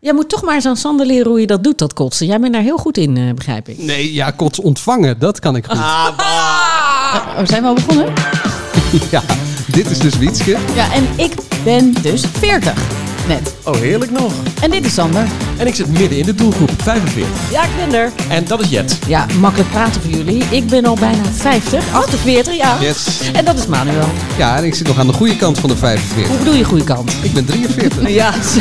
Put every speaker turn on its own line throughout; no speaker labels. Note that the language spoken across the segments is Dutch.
Jij moet toch maar eens aan Sander leren hoe je dat doet, dat kotsen. Jij bent daar heel goed in, eh, begrijp ik.
Nee, ja, kots ontvangen, dat kan ik goed.
Oh, zijn we al begonnen?
Ja, dit is dus Wietske.
Ja, en ik ben dus 40. Net.
Oh, heerlijk nog.
En dit is Sander.
En ik zit midden in de doelgroep, 45.
Ja, ik ben er.
En dat is Jet.
Ja, makkelijk praten voor jullie. Ik ben al bijna 50. 48, ja.
Yes.
En dat is Manuel.
Ja, en ik zit nog aan de goede kant van de 45.
Hoe bedoel je goede kant?
Ik ben 43.
Ja,
Ze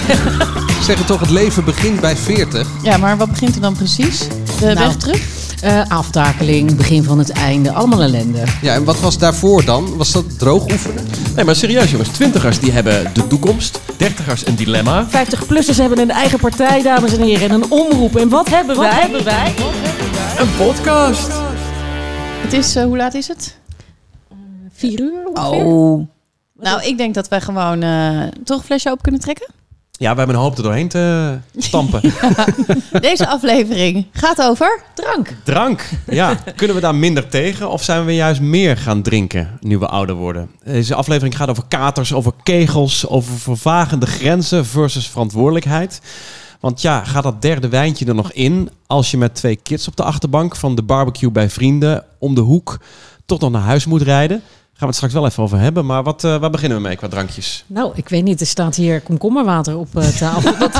Zeggen toch, het leven begint bij 40.
Ja, maar wat begint er dan precies? De weg terug?
eh, aftakeling, begin van het einde, allemaal ellende.
Ja, en wat was daarvoor dan? Was dat droog oefenen?
Nee, maar serieus jongens. Twintigers die hebben de toekomst. Dertigers een dilemma.
50-plussers hebben een eigen partij, dames en heren, en een omroep. En wat hebben wij?
Een podcast.
Het is, eh, hoe laat is het?
Vier uur ongeveer?
Oh. Nou, ik denk dat wij gewoon eh, toch een flesje open kunnen trekken.
Ja, we hebben een hoop er doorheen te stampen.
Deze aflevering gaat over
Drank.
Drank. Ja, kunnen we daar minder tegen? Of zijn we juist meer gaan drinken nu we ouder worden? Deze aflevering gaat over katers, over kegels, over vervagende grenzen versus verantwoordelijkheid. Want ja, gaat dat derde wijntje er nog in als je met twee kids op de achterbank van de barbecue bij vrienden om de hoek toch nog naar huis moet rijden? Gaan we het straks wel even over hebben, maar wat, eh, waar beginnen we mee qua drankjes?
Nou, ik weet niet, er staat hier komkommerwater op eh, tafel. Dat,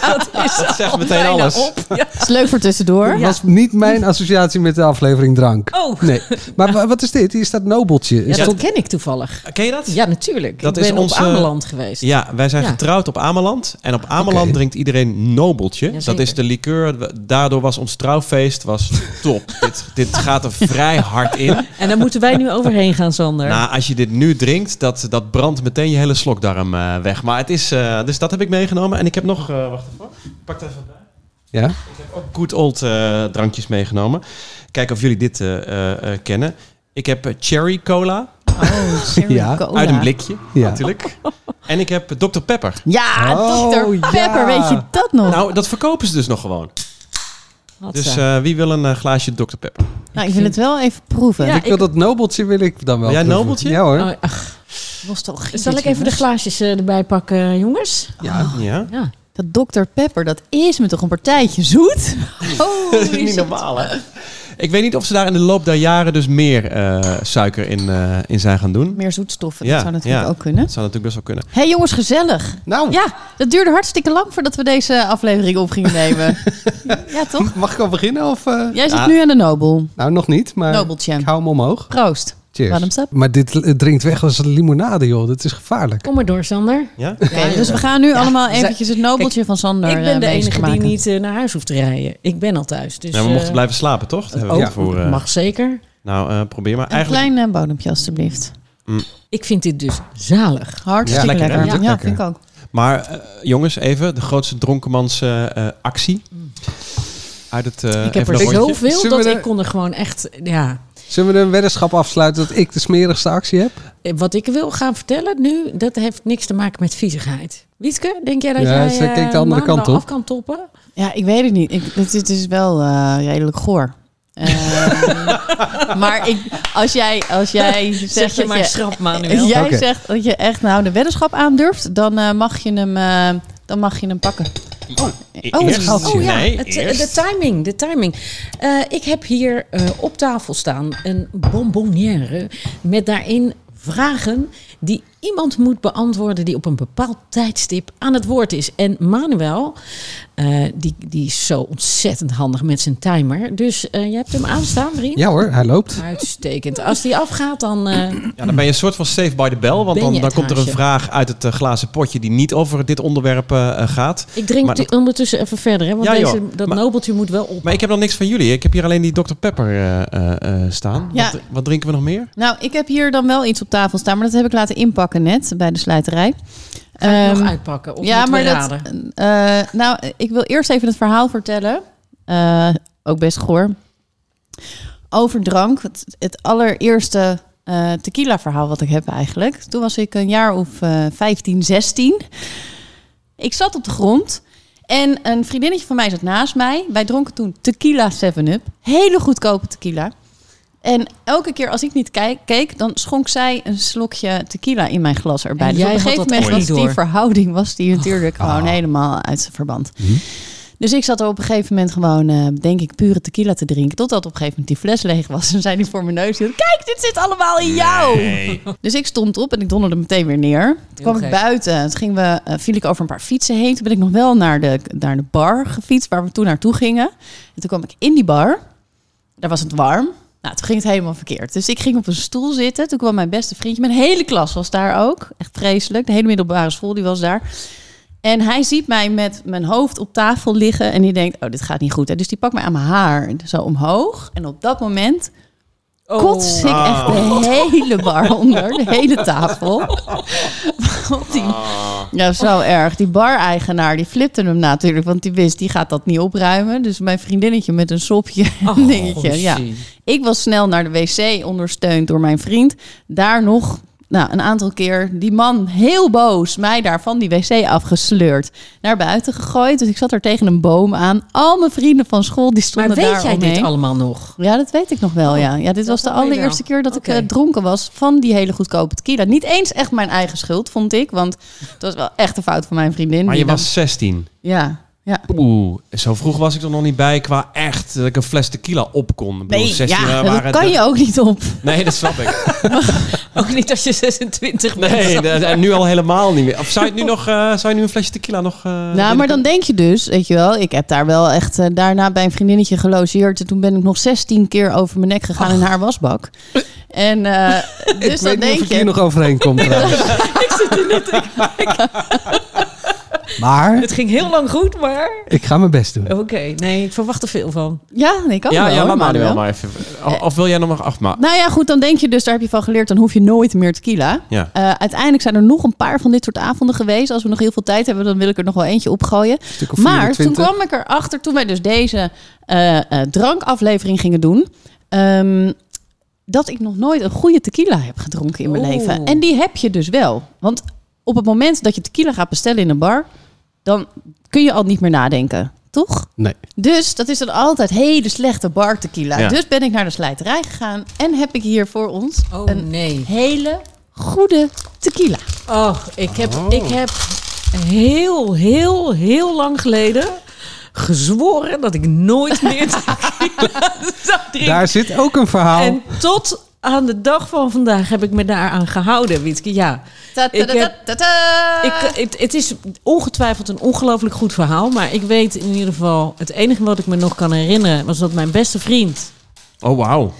dat is
Dat zegt
al
meteen
bijna
alles.
op. Ja.
is leuk voor tussendoor.
Dat was niet mijn associatie met de aflevering drank.
Oh,
Nee. Maar wa- wat is dit? Hier staat Nobeltje.
ja,
Is
dat
dat...
ken ik toevallig.
Ken je dat?
Ja, natuurlijk.
Dat
ik
is
ben
onze-
op Ameland geweest.
Ja, wij zijn
Ja.
getrouwd op Ameland. En op Ameland
Oké.
drinkt iedereen Nobeltje.
Jazeker.
dat is de liqueur. Daardoor was ons trouwfeest was top. dit, dit gaat er vrij hard in.
En daar moeten wij nu overheen gaan, Sander.
Nou, als je dit nu drinkt, dat, dat brandt meteen je hele slokdarm eh, weg. Maar het is... eh, dus dat heb ik meegenomen. En ik heb nog... eh, wacht even. hoor. Ik Pak het even bij.
Ja?
Ik heb ook good old eh, drankjes meegenomen. Kijken of jullie dit eh, eh, eh, kennen. Ik heb eh, cherry cola.
Oh, cherry
Ja,
cola.
Uit een blikje,
Ja.
natuurlijk. En ik heb Dr. Pepper.
Ja,
Oh,
dokter
ja.
Pepper, weet je dat nog? Nou,
Nou, dat verkopen ze dus nog gewoon.
Had
Dus
ze.
eh, wie wil een eh, glaasje Dr. Pepper?
Nou, ik wil het wel even proeven.
Ja,
ik wil dat Nobeltje wil ik dan wel.
Wil jij
proeven.
Nobeltje?
Ja hoor.
Oh, ach,
Nostalgie.
zal ik
dit,
even de
jongens.
glaasjes eh, erbij pakken, jongens?
Ja.
Ja.
Ja.
Dat dokter Pepper, dat is me toch een partijtje zoet? Oh,
Dat is niet normaal, hè? Ik weet niet of ze daar in de loop der jaren dus meer eh, suiker in, eh, in zijn gaan doen.
Meer zoetstoffen,
Ja,
dat zou natuurlijk
ja.
ook kunnen.
Dat zou natuurlijk best wel kunnen.
Hé hey, jongens, gezellig.
Nou,
Ja, dat duurde hartstikke lang voordat we deze aflevering op gingen nemen. ja, toch?
mag ik al beginnen? Of, eh?
Jij zit
Ja.
nu aan de Nobel.
Nou, nog niet. Maar
Nobeltje.
ik hou hem omhoog.
Proost.
Cheers.
Bottoms up.
Maar dit eh, drinkt weg als een limonade, joh. Dat is gevaarlijk.
Kom maar door, Sander.
Ja?
Oké, dus we gaan nu allemaal eventjes het Nobeltje van Sander
ik ben
eh,
de
bezig
enige
maken.
die niet eh, naar huis hoeft te rijden. Ik ben al thuis. Dus,
Nou, we
eh, oh,
mochten blijven slapen, toch? Dat hebben we
ook.
voor, eh,
Mag zeker.
Nou, eh, probeer maar.
Een
Eigenlijk,
klein eh, bodempje alstublieft.
Ik vind dit dus zalig.
Ja, lekker,
Hartstikke lekker.
hè?
Ja,
Natuurlijk
ja,
lekker.
vind ik ook.
Maar eh, jongens, even de grootste dronkenmansactie. Uit het... eh,
Mm. Ik heb
even
er
een rondje.
zoveel
Zullen
dat
we
ik
de-
kon er gewoon echt... Ja,
Zullen we een weddenschap afsluiten dat ik de smerigste actie heb?
Eh, wat ik wil gaan vertellen nu, dat heeft niks te maken met viezigheid. Wietke, denk jij dat
Ja,
jij
ze keek de
eh,
andere
maanden
kant op.
af kan toppen?
Ja, ik weet het niet. Ik, het, het is wel eh, redelijk goor. Ehm, maar ik, als jij, als jij zegt
Zeg je
dat
maar schrap, Manuel.
Als jij
Oké.
zegt dat je echt nou de weddenschap aandurft, dan, eh, mag, je hem, eh, dan mag je hem pakken. Oh,
Eerst-
schat.
Oh ja,
Nee,
het,
eerst.
de timing, de timing. Eh, ik heb hier eh, op tafel staan een bonbonnière met daarin vragen die iemand moet beantwoorden die op een bepaald tijdstip aan het woord is. En Manuel, eh, die, die is zo ontzettend handig met zijn timer. Dus eh je hebt hem aanstaan, vriend?
Ja hoor, hij loopt.
Uitstekend. Als die afgaat, dan... eh,
Ja, dan ben je een soort van safe by the bell. Want
Ben
dan,
je
dan
het
komt er een
haasje?
vraag uit het eh, glazen potje die niet over dit onderwerp eh, eh, gaat.
ik drink
Maar dat-
die ondertussen even verder, hè, want
Ja, joh.
deze, dat
Maar-
nobeltje moet wel op.
Maar ik heb dan niks van jullie. Ik heb hier alleen die Dr. Pepper eh, eh, eh, staan.
Ja.
Wat, wat drinken we nog meer?
Nou, ik heb hier dan wel iets op tafel staan, maar dat heb ik laten inpakken net bij de slijterij.
Ga ik
Ehm,
nog uitpakken? Of
ja,
moeten
maar
we
dat.
raden?
eh, nou, ik wil eerst even het verhaal vertellen. Eh, ook best goor. Over drank. Het, het allereerste eh, tequila-verhaal wat ik heb eigenlijk. Toen was ik een jaar of eh 15, 16. Ik zat op de grond. En een vriendinnetje van mij zat naast mij. Wij dronken toen tequila 7-up. Hele goedkope tequila. En elke keer als ik niet kijk, keek, dan schonk zij een slokje tequila in mijn glas erbij.
En
dus op
jij
een
had
gegeven
dat
moment
echt
was
niet
die
door. Oh.
verhouding was die natuurlijk gewoon helemaal uit zijn verband. Dus ik zat er op een gegeven moment gewoon, eh, denk ik, pure tequila te drinken. Totdat op een gegeven moment die fles leeg was. En zei die voor mijn neus, hield, kijk, dit zit allemaal in jou.
Nee.
Dus ik stond op en ik donderde meteen weer neer. Toen kwam ik
gek.
buiten. Toen gingen we, eh, viel ik over een paar fietsen heen. Toen ben ik nog wel naar de, naar de bar gefietst waar we toen naartoe gingen. En toen kwam ik in die bar. Daar was het warm. Nou, toen ging het helemaal verkeerd. Dus ik ging op een stoel zitten. Toen kwam mijn beste vriendje. Mijn hele klas was daar ook. Echt vreselijk. De hele middelbare school die was daar. En hij ziet mij met mijn hoofd op tafel liggen. En die denkt, oh, dit gaat niet goed. En dus die pakt mij aan mijn haar. Zo omhoog. En op dat moment
Oh.
kots ik echt de hele bar onder, de hele tafel. Want die,
Ah.
ja, zo erg. Die bar-eigenaar die flipte hem natuurlijk, want die wist die gaat dat niet opruimen. Dus mijn vriendinnetje met een sopje en
Oh,
dingetje. Ja.
zie.
Ik was snel naar de wc, ondersteund door mijn vriend. Daar nog nou, een aantal keer die man heel boos mij daar van die wc afgesleurd. Naar buiten gegooid. Dus ik zat er tegen een boom aan. Al mijn vrienden van school die
Maar
stonden daar
weet jij dit
omheen.
allemaal nog?
Ja, dat weet ik nog wel, ja. Ja, dit
dat
was de
weet je
allereerste
wel.
keer dat
Oké.
ik eh, dronken was van die hele goedkope tequila. Niet eens echt mijn eigen schuld, vond ik. Want het was wel echt een fout van mijn vriendin.
Maar
die
je was 16.
dan- Ja, ja.
Oeh, zo vroeg was ik er nog niet bij qua echt dat ik een fles tequila op kon. Ik bedoel, 16
ja,
jaar
dat
waren
kan
de-
je ook niet op.
Nee, dat snap ik.
Ook niet als je 26 bent.
Nee, dat- en nu al helemaal niet meer. Of zou je, het nu nog, eh, zou je nu een flesje tequila nog... eh,
nou,
willen
maar dan denk je dus, weet je wel. Ik heb daar wel echt eh, daarna bij een vriendinnetje gelogeerd. En toen ben ik nog 16 keer over mijn nek gegaan in haar wasbak. En eh,
ik weet niet
dus dan denk
of ik
je...
hier nog overheen kom trouwens. Maar
Het Oh. ging heel lang goed, maar...
ik ga mijn best doen.
Oké, nee, ik verwacht er veel van.
Ja, nee, kan
Ja,
wel.
ja,
hoor,
maar
Manuel.
Manuel maar even. Of, of wil jij nog maar... Ach, maar...
Nou ja, goed, dan denk je dus, daar heb je van geleerd, dan hoef je nooit meer tequila.
Ja.
Eh, uiteindelijk zijn er nog een paar van dit soort avonden geweest. Als we nog heel veel tijd hebben, dan wil ik er nog wel eentje opgooien.
Stuk of
Maar toen
24.
kwam ik erachter, toen wij dus deze eh, eh, drankaflevering gingen doen... ehm, dat ik nog nooit een goede tequila heb gedronken in mijn
Oeh.
leven. En die heb je dus wel. Want op het moment dat je tequila gaat bestellen in een bar... dan kun je al niet meer nadenken, toch?
Nee.
Dus dat is dan altijd hele slechte bar tequila.
Ja.
Dus ben ik naar de slijterij gegaan en heb ik hier voor ons
Oh,
een
nee.
hele goede tequila.
Oh, ik heb, ik heb heel, heel, heel lang geleden gezworen dat ik nooit meer tequila zou drinken.
Daar zit ook een verhaal.
En tot aan de dag van vandaag heb ik me daaraan gehouden, Witke. Ja,
Ta
Ik heb-
ta
ik, het, het is ongetwijfeld een ongelooflijk goed verhaal. Maar ik weet in ieder geval... Het enige wat ik me nog kan herinneren was dat mijn beste vriend...
Oh, wauw.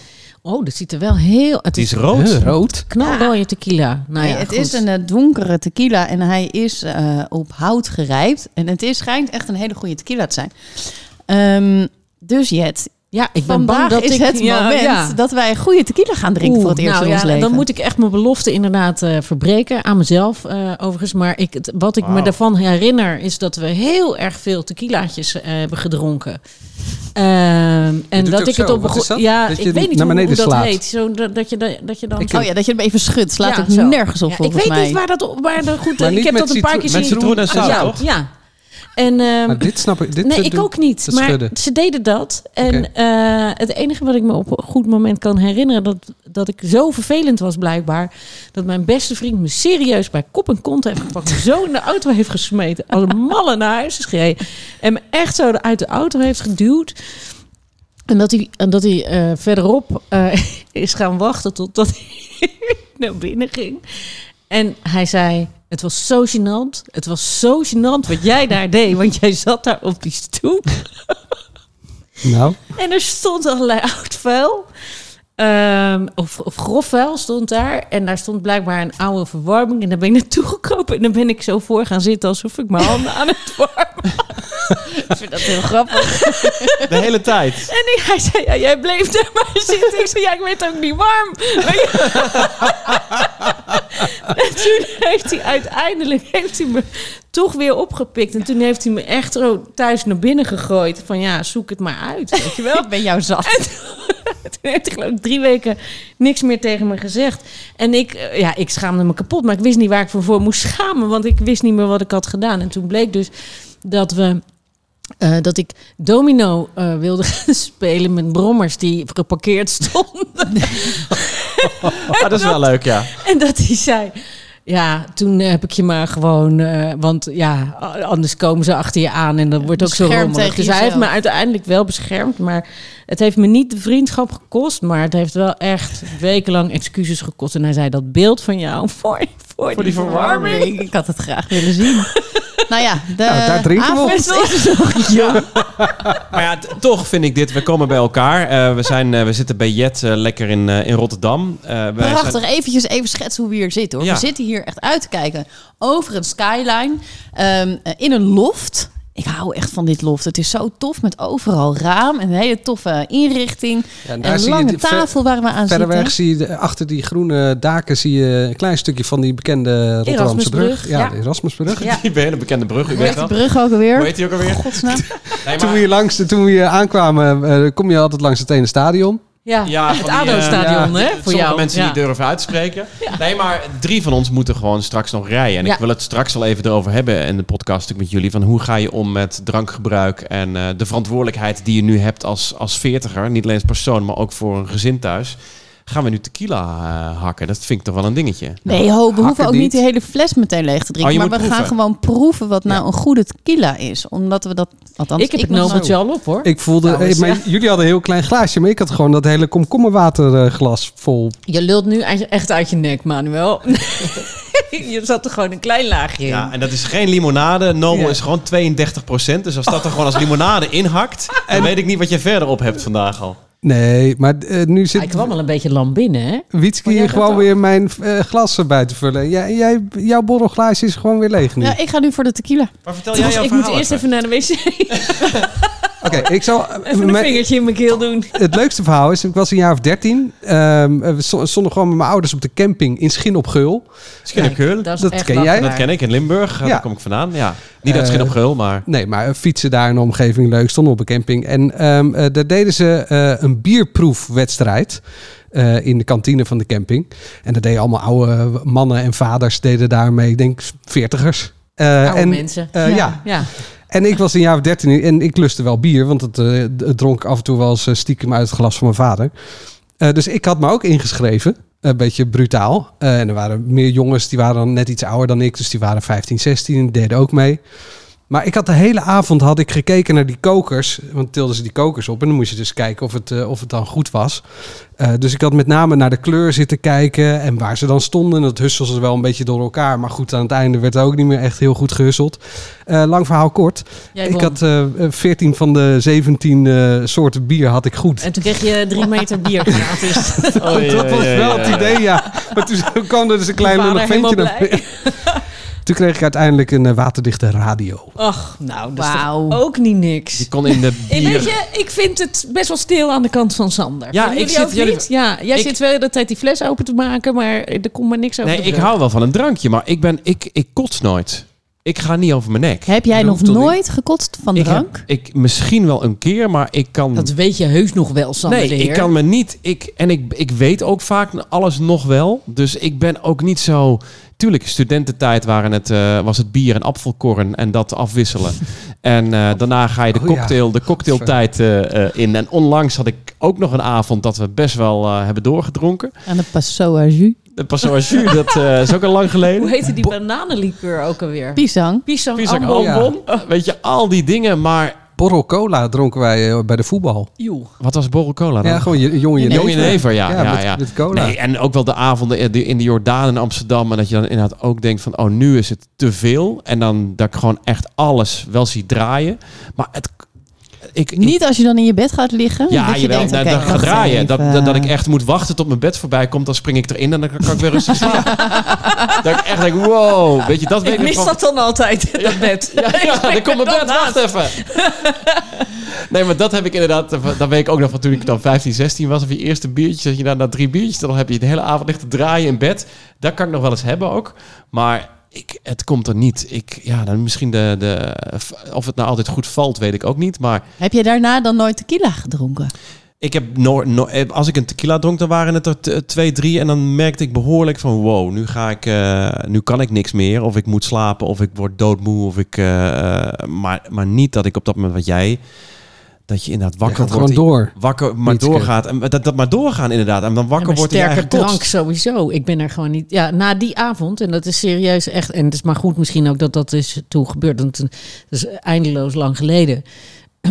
Oh, dat ziet er wel heel... Het
Die
is
is rood.
Huh, rood.
knalrooie tequila. Nou ja,
het
goed.
is een eh, donkere tequila en hij is eh, op hout gerijpt. En het is, schijnt echt een hele goede tequila te zijn. Ehm, dus Jet,
Ja, ik ben bang
vandaag
dat
is
ik,
het
ja,
moment
ja.
dat wij een goede tequila gaan drinken voor het
Oeh,
eerst
nou
in
ja,
ons leven.
Dan moet ik echt mijn belofte inderdaad eh, verbreken. Aan mezelf eh, overigens. Maar ik, het- wat ik me
Wauw.
daarvan herinner is dat we heel erg veel tequilaatjes eh, hebben gedronken. Ehm, en
doet
dat
ook
ik het
zo.
op een
Wat is
go-
dat?
Ja,
Dat je
ik weet
hem
niet
naar
hoe, hoe
beneden
dat
slaat.
heet. Zo, dat, dat, je, da- dat je dan.
Ik-
Oh ja, dat je hem even schudt. Slaat
Ja,
het
zo.
nergens op
Ja, ik
volgens
weet
mij.
niet waar dat op. Waar dat goed,
Maar
ik
niet
heb
met
dat een paar
citroen-
keer
met
zien.
citroen en zout,
Ja,
toch?
Ja. En, ehm,
Maar dit snap ik. Dit
nee,
dit-
ik
dit-
ook niet.
dat
Maar
schudden.
ze deden dat. En
Oké.
eh, het enige wat ik me op een goed moment kan herinneren... Dat, dat ik zo vervelend was blijkbaar... dat mijn beste vriend me serieus bij kop en kont heeft gepakt... me zo in de auto heeft gesmeten. Als een malle naar huis is gereden. En me echt zo uit de auto heeft geduwd. En dat hij, en dat hij eh, verderop eh, is gaan wachten totdat hij naar binnen ging. En hij zei, het was zo gênant. Het was zo gênant wat jij daar deed. Want jij zat daar op die stoel.
Nou,
En er stond allerlei oud vuil. Ehm, of, of grof vuil stond daar. En daar stond blijkbaar een oude verwarming. En daar ben ik naartoe gekropen. En dan ben ik zo voor gaan zitten alsof ik mijn handen aan het warmen.
Ik vind dat heel grappig.
De hele tijd.
En ik- hij zei, ja, jij bleef daar maar zitten. Ik zei, ja, ik werd ook niet warm. Maar ja. en toen heeft hij uiteindelijk heeft hij me toch weer opgepikt. En toen heeft hij me echt zo thuis naar binnen gegooid. Van ja, zoek het maar uit, weet je wel.
Ik ben jou zat.
Toen heeft hij geloof ik drie weken niks meer tegen me gezegd. En ik, eh, ja, ik schaamde me kapot. Maar ik wist niet waar ik voor, voor moest schamen. Want ik wist niet meer wat ik had gedaan. En toen bleek dus dat we eh, dat ik domino eh, wilde gaan spelen met brommers die geparkeerd stonden.
Ah, dat is wel leuk, ja.
En dat hij zei. Ja, toen heb ik je maar gewoon. eh, want ja, a- anders komen ze achter je aan en dan wordt ook zo
beschermd
rommelig.
tegen
Dus hij heeft me
jezelf.
uiteindelijk wel beschermd. Maar het heeft me niet de vriendschap gekost. Maar het heeft wel echt wekenlang excuses gekost. En hij zei dat beeld van jou voor, voor,
die
die verwarming.
Ik, ik had het graag willen zien. nou ja, de
Nou, daar drinken we op.
avond is nog jong.
Maar ja, t- toch vind ik dit. We komen bij elkaar. Eh, we, zijn, eh, we zitten bij Jet eh, lekker in, eh, in Rotterdam. Eh, wij zijn-
Prachtig. Eventjes even schetsen hoe we hier zitten. Hoor.
Ja.
We zitten hier echt uit te kijken over een skyline ehm, eh, in een loft. Ik hou echt van dit loft. Het is zo tof met overal raam en een hele toffe inrichting.
Ja, en daar
en een
zie je
lange
de- ver-
tafel waar we aan
Verder
zitten.
weg zie je de- achter die groene daken zie je een klein stukje van die bekende Rotterdamse brug.
Erasmusbrug,
Ja,
ja.
de Erasmusbrug.
Ja.
Die hele bekende brug, u
Hoe heet
weet
die
wel.
brug ook alweer?
Hoe heet die ook alweer?
Godsnaam.
Nee,
Toen we
maar-
hier langs, toen we hier aankwamen, eh, kom je altijd langs het ene stadion.
Ja,
Ja,
het
van die, eh,
ADO-stadion, hè? Voor
Sommige
jou.
mensen
ja.
die durven uitspreken. Nee, maar drie van ons moeten gewoon straks nog rijden. En
Ja.
ik wil het straks al even erover hebben in de podcast natuurlijk met jullie. Van hoe ga je om met drankgebruik en eh, de verantwoordelijkheid die je nu hebt als, als veertiger. Niet alleen als persoon, maar ook voor een gezin thuis. Gaan we nu tequila eh, hakken? Dat vind ik toch wel een dingetje.
Nee, ho, we hoeven ook
hakkendiet.
niet die hele fles meteen leeg te drinken.
Oh, je
maar we
moet
gaan
proeven.
gewoon proeven wat nou een goede tequila is. Omdat we dat... Althans,
ik heb het
nog nooit-
nobeltje al op, hoor.
Ik voelde,
Nou,
eh,
is-
maar jullie hadden een heel klein glaasje, maar ik had gewoon dat hele komkommerwaterglas eh, vol.
Je lult nu e- echt uit je nek, Manuel. je zat er gewoon een klein laagje in.
Ja, en dat is geen limonade. Nobel is gewoon 32%. Dus als dat er gewoon als limonade inhakt, dan weet ik niet wat je verder op hebt vandaag al.
Nee, maar eh, nu
Hij
zit
kwam al een beetje lam binnen, hè?
Wietski
Maar jij
hier
gaat
gewoon
ook.
weer mijn eh, glas erbij te vullen. Jij, jij, jouw borrelglaasje is gewoon weer leeg nu.
Ja, ik ga nu voor de tequila.
Maar vertel jij
Trouwens,
jouw
Dus ik moet
verhaal
eerst even naar de wc.
Oké, ik zal...
Even een
mijn-
vingertje in mijn keel doen.
het leukste verhaal is, ik was een jaar of dertien. ehm, we sto- stonden gewoon met mijn ouders op de camping in Schin op Geul.
Skin op Geul.
dat
echt
ken jij?
lachen.
Dat ken ik in Limburg.
Ja.
Daar kom ik vandaan. Ja. Niet uit
Eh,
Skin op Geul, maar...
Nee, maar eh, fietsen daar in de omgeving leuk. Stonden op een camping. En ehm, eh, daar deden ze eh, een bierproefwedstrijd. eh, in de kantine van de camping. En dat deden allemaal oude mannen en vaders deden daarmee. Ik denk veertigers. Eh,
Oude
en,
mensen.
eh,
Ja.
ja,
Ja,
En ik was een jaar of dertien en ik lustte wel bier, want het, eh, d- het dronk af en toe wel eens eh, stiekem uit het glas van mijn vader. Eh, dus ik had me ook ingeschreven, een beetje brutaal. Eh, en er waren meer jongens, die waren dan net iets ouder dan ik, dus die waren 15, 16 en deden ook mee. Maar ik had de hele avond had ik gekeken naar die kokers, want tilden ze die kokers op en dan moest je dus kijken of het, eh, of het dan goed was. Eh, dus ik had met name naar de kleur zitten kijken en waar ze dan stonden. Dat husselden ze wel een beetje door elkaar, maar goed, aan het einde werd er ook niet meer echt heel goed gehusseld. Eh, lang verhaal kort.
jij
Ik
won.
had eh, 14 van de 17 eh, soorten bier had ik goed.
En toen kreeg je drie meter bier gratis. eh,
dat was wel het idee, ja. Maar toen kwam er dus een klein
Mijn vader
lullig ventje.
helemaal
naar Toen kreeg ik uiteindelijk een eh, waterdichte radio.
Och, nou, dat is toch
Wauw.
ook niet niks.
Die kon in de
Hey,
bier...
weet je, ik vind het best wel stil aan de kant van Sander.
Ja,
Vinden
ik zit-
ook
jullie-
niet? Ja, jij
ik-
zit wel de hele tijd die fles open te maken, maar er komt maar niks over
Nee,
de
ik
brug.
hou wel van een drankje, maar ik, ben, ik, ik kots nooit. Ik ga niet over mijn nek.
Heb jij
Dat
nog
hoeft toch
nooit gekotst van
ik,
drank?
heb- ik misschien wel een keer, maar ik kan...
Dat weet je heus nog wel, Sander
nee,
de
ik
Heer.
kan me niet... Ik, en ik, ik weet ook vaak alles nog wel. Dus ik ben ook niet zo... Tuurlijk, studententijd waren het, eh, was het bier en apfelkorn en dat afwisselen. en eh, daarna ga je de
Oh ja.
cocktail, de cocktailtijd eh, eh, in. En onlangs had ik ook nog een avond dat we best wel eh, hebben doorgedronken.
Aan de Passo à jus.
De Passoir Jus, dat eh, is ook al lang geleden.
Hoe heette die bananenlikeur ook alweer?
Pisang.
Pisang,
Pisang
Ambon.
ja.
Ambon. Weet je, al die dingen. Maar
Borrel cola dronken wij eh, bij de voetbal.
Joe.
wat was borrel cola dan?
Ja, gewoon je, jongen je
Jong in
neef.
Never, ja. ja, ja,
met, met cola.
Nee, en ook wel de avonden in de- in de Jordaan en Amsterdam. En dat je dan inderdaad ook denkt van, oh, nu is het te veel. En dan dat ik gewoon echt alles wel zie draaien. Maar het... Ik, ik-
Niet als je dan in je bed gaat liggen.
ja,
dat je
jawel.
denkt,
nou,
oké,
dan ga
wacht
draaien. Dat,
even. eh,
dat, dat ik echt moet wachten tot mijn bed voorbij komt. Dan spring ik erin en dan kan ik weer rustig slapen. dat ik echt denk, wow. Weet je, dat weet
Ik mis
van-
dat dan altijd, dat bed.
Ja, ja dan komt mijn bed. Wacht even. Nee, maar dat heb ik inderdaad. Dat weet ik ook nog van toen ik dan 15, 16 was. Of je eerste biertje. Dat je dan na drie biertjes. Dan heb je de hele avond ligt te draaien in bed. Dat kan ik nog wel eens hebben ook. Maar ik, het komt er niet. Ik, ja, dan misschien de, de. Of het nou altijd goed valt, weet ik ook niet. Maar
Heb je daarna dan nooit tequila gedronken?
Ik heb no, no- eh, als ik een tequila dronk, dan waren het er t- eh, twee, drie. En dan merkte ik behoorlijk van wow, nu ga ik, eh, nu kan ik niks meer. Of ik moet slapen, of ik word doodmoe. Of ik, eh, eh, maar, maar niet dat ik op dat moment wat jij, dat je inderdaad
Wakker
wakker
gewoon
wordt.
door.
Wakker maar
Nietske.
doorgaat. En dat, dat maar doorgaan inderdaad. En dan wakker
Ja, maar
wordt in je eigen
sterke
kots.
drank sowieso. Ik ben er gewoon niet. Ja, na die avond, en dat is serieus echt. En het is maar goed misschien ook dat dat is toen gebeurd. Want dat is eindeloos lang geleden.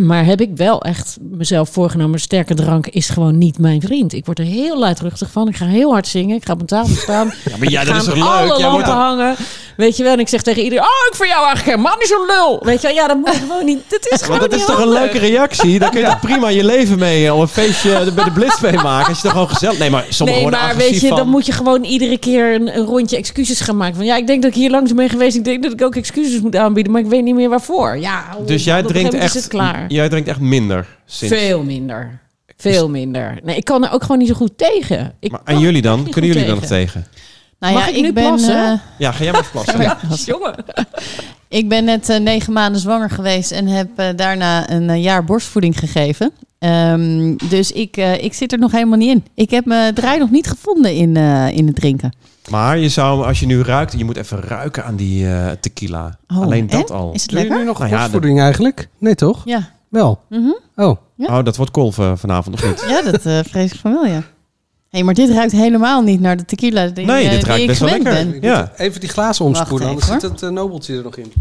Maar heb ik wel echt mezelf voorgenomen. Sterke drank is gewoon niet mijn vriend. Ik word er heel luidruchtig van. Ik ga heel hard zingen. Ik ga op een tafel staan.
Ja, maar ja,
Ik
dat
ga
is toch
aan alle
leuk? Jij wordt
lampen
er-
hangen. Weet je wel, en ik zeg tegen iedereen... Oh, ik vind jou eigenlijk helemaal niet zo'n lul. Weet je wel, ja, dat moet gewoon niet... Dat is gewoon
Maar dat
niet
is toch een
handig.
leuke reactie? Dan kun je toch prima je leven mee eh, op een feestje bij de Blitz mee maken. Als je toch gewoon gezellig... Nee, maar sommigen
Nee,
worden
maar
agressief
weet je,
van.
dan moet je gewoon iedere keer een, een rondje excuses gaan maken. Van ja, ik denk dat ik hier langs ben geweest. Ik denk dat ik ook excuses moet aanbieden, maar ik weet niet meer waarvoor. Ja, oh,
Dus jij
op een
drinkt
gegeven moment
echt...
Is het klaar.
Jij drinkt echt minder sinds...
Veel minder. Veel minder. Nee, ik kan er ook gewoon niet zo goed tegen. Ik
Maar
kan
aan jullie
er
dan?
echt niet
Kunnen
goed
jullie dan nog tegen?
Nou
Mag
ja,
ik nu
ben,
plassen?
eh,
Ja, ga jij maar even plassen.
Jongen.
Ik ben net eh, negen maanden zwanger geweest en heb eh, daarna een eh, jaar borstvoeding gegeven. Ehm, dus ik, eh, ik zit er nog helemaal niet in. Ik heb mijn draai nog niet gevonden in, eh, in het drinken.
Maar je zou, als je nu ruikt... Je moet even ruiken aan die eh, tequila.
Oh,
Alleen dat
en?
al.
Is het
Doe je
lekker?
nu nog
Nou ja,
borstvoeding eigenlijk? Nee, toch?
Ja,
Wel.
Mhm.
Oh,
Ja.
Oh, dat wordt kolven vanavond, of niet?
ja dat eh, vrees ik van wel, ja. hey, maar dit ruikt helemaal niet naar de tequila die,
Nee,
eh,
dit
die
ruikt
ik
best wel
gewend
lekker.
ben.
Ja.
even die glazen
Wacht
omspoelen,
even,
anders zit het eh, nobeltje er nog in.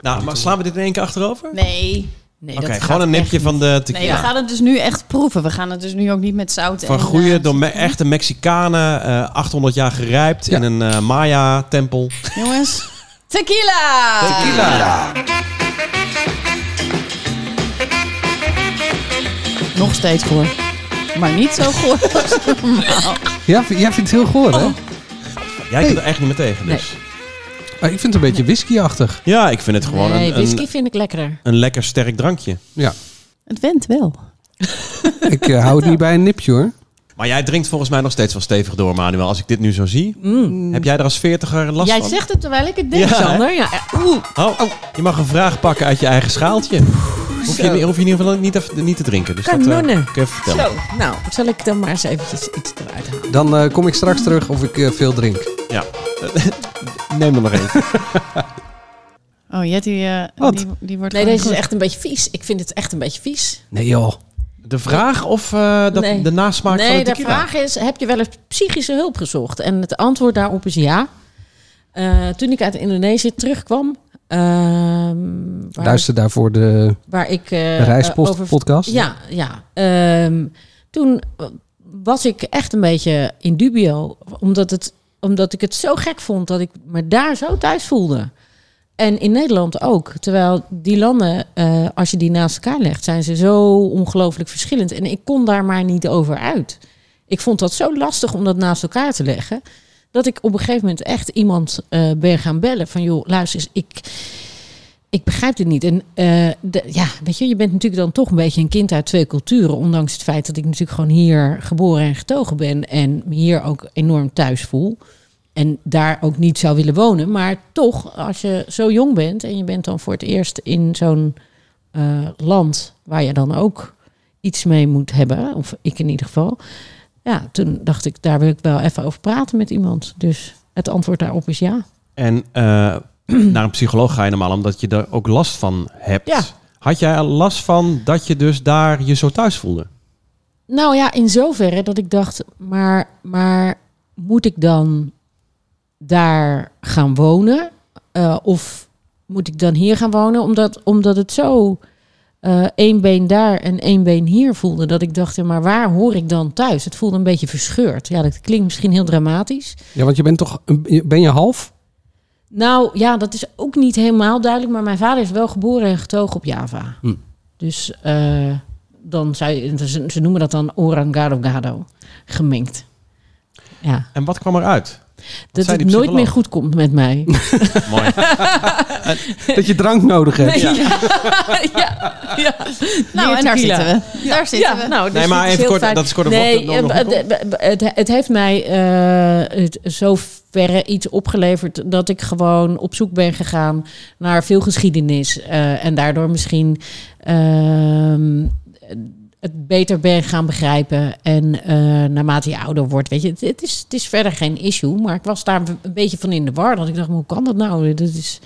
Nou, maar slaan we dit in één keer achterover?
Nee,
Nee,
Oké,
dat gaat
gewoon een
echt
nipje
niet.
van de
nee, we
tequila.
gaan het dus nu echt proeven. We gaan het dus nu ook niet met zout
Van
en...
goede,
eh,
door me- echte Mexicanen, eh, 800 jaar gerijpt
Ja.
in een eh, Maya-tempel.
Jongens, tequila! Nog steeds goor. Maar niet zo goor als normaal.
Ja, v- jij vindt het heel goor, hè?
Jij kunt er echt niet meer tegen,
Nee.
dus.
Maar Ah, ik vind het een beetje whiskyachtig.
Ja, ik vind het gewoon
Nee,
een,
whisky
een,
vind ik lekkerder.
een lekker sterk drankje.
Ja.
Het went wel.
ik eh, hou het niet bij een nipje, hoor.
Maar jij drinkt volgens mij nog steeds wel stevig door, Manuel. Als ik dit nu zo zie. Heb jij er als veertiger last
Jij
van?
zegt het terwijl ik het denk,
Ja, hè?
Mm, Sander. Ja, eh, oeh.
Oh, je mag een vraag pakken uit je eigen schaaltje. Hoef je, hoef je in ieder geval niet, even- niet te drinken. Dus dat eh,
Kanonnen.
kan ik even vertellen.
Zo, nou, zal ik dan maar eens eventjes iets eruit halen?
Dan eh, kom ik straks terug of ik eh, veel drink.
Ja. Neem er nog eentje.
Oh, Jetty, eh,
Wat?
die, die wordt
Nee,
gewoon
deze is
goed.
echt een beetje vies. Ik vind het echt een beetje vies.
Nee, joh.
De vraag of eh, dat,
Nee.
de nasmaak van
Nee, de
de tequila?
vraag is: heb je wel eens psychische hulp gezocht? En het antwoord daarop is ja. Eh, toen ik uit Indonesië terugkwam, ehm, waar,
Luister daarvoor de,
waar ik eh,
de reispost
over-
podcast.
Ja, ja. Ehm, toen was ik echt een beetje in dubio, omdat, het, omdat ik het zo gek vond dat ik me daar zo thuis voelde. En in Nederland ook. Terwijl die landen, eh, als je die naast elkaar legt, zijn ze zo ongelooflijk verschillend. En ik kon daar maar niet over uit. Ik vond dat zo lastig om dat naast elkaar te leggen. Dat ik op een gegeven moment echt iemand eh, ben gaan bellen. Van joh, luister eens, ik, ik begrijp dit niet. En eh, de- ja, weet je, je bent natuurlijk dan toch een beetje een kind uit twee culturen. Ondanks het feit dat ik natuurlijk gewoon hier geboren en getogen ben. En me hier ook enorm thuis voel. En daar ook niet zou willen wonen. Maar toch, als je zo jong bent en je bent dan voor het eerst in zo'n eh, land waar je dan ook iets mee moet hebben. Of ik in ieder geval. Ja, toen dacht ik, daar wil ik wel even over praten met iemand. Dus het antwoord daarop is ja.
En eh, naar een psycholoog ga je normaal omdat je er ook last van hebt.
Ja.
Had jij er last van dat je dus daar je zo thuis voelde?
Nou ja, in zoverre dat ik dacht, maar, maar moet ik dan daar gaan wonen? Eh, of moet ik dan hier gaan wonen? Omdat, omdat het zo eh één been daar en één been hier voelde. Dat ik dacht, ja, maar waar hoor ik dan thuis? Het voelde een beetje verscheurd. Ja, dat klinkt misschien heel dramatisch.
Ja, want je bent toch... een- Ben je half?
Nou ja, dat is ook niet helemaal duidelijk. Maar mijn vader is wel geboren en getogen op Java.
Hm.
Dus eh, dan zou je, ze, ze noemen dat dan orang gado gado gemengd. Ja,
En wat kwam eruit?
dat
zei
het
die
nooit
psycholoog?
meer goed komt met mij.
Mooi.
Dat je drank nodig hebt.
ja. ja, ja.
Nou,
Meer
en daar
tequila.
zitten we. Daar zitten we.
nou, dus
Nee, maar
dat is
even
heel
kort,
fijn.
dat is kort op
Nee,
wat er nog
eh,
komt.
eh, eh, het, het heeft mij eh het- zoverre iets opgeleverd dat ik gewoon op zoek ben gegaan naar veel geschiedenis. eh, en daardoor misschien ehm, het beter ben gaan begrijpen. En eh, naarmate je ouder wordt, weet je, het, het is, het is verder geen issue. Maar ik was daar een beetje van in de war. Dat ik dacht, maar hoe kan dat nou? Dit is